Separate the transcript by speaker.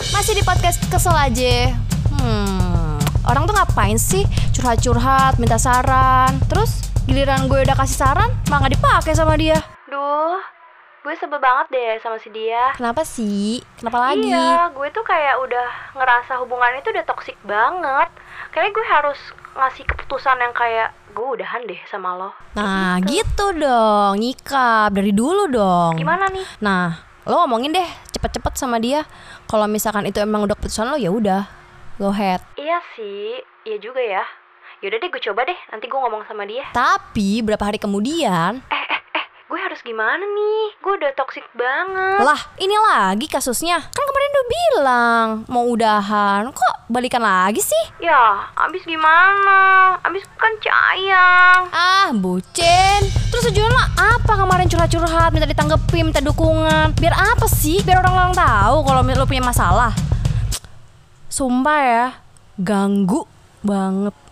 Speaker 1: nggak sih di podcast kesel aja? Hmm, orang tuh ngapain sih curhat-curhat, minta saran, terus giliran gue udah kasih saran malah nggak dipakai sama dia.
Speaker 2: Duh, gue sebel banget deh sama si dia.
Speaker 1: Kenapa sih? Kenapa lagi?
Speaker 2: Iya, gue tuh kayak udah ngerasa hubungan itu udah toksik banget. Kayaknya gue harus ngasih keputusan yang kayak gue udahan deh sama lo.
Speaker 1: Nah, gitu dong, nyikap dari dulu dong.
Speaker 2: Gimana nih?
Speaker 1: Nah, lo ngomongin deh cepet-cepet sama dia. Kalau misalkan itu emang udah keputusan lo ya udah, go ahead.
Speaker 2: Iya sih, iya juga ya. Yaudah deh gue coba deh, nanti gue ngomong sama dia.
Speaker 1: Tapi berapa hari kemudian,
Speaker 2: Eh, eh, eh, gue harus gimana nih? Gue udah toksik banget.
Speaker 1: lah ini lagi kasusnya. Kan kemarin udah bilang mau udahan, kok balikan lagi sih?
Speaker 2: Ya, abis gimana? Abis kan cayang.
Speaker 1: Ah, bucin. Terus tujuan lo apa kemarin curhat-curhat, minta ditanggepin, minta dukungan? Biar apa sih? Biar orang-orang tahu kalau lo punya masalah. Sumpah ya, ganggu banget.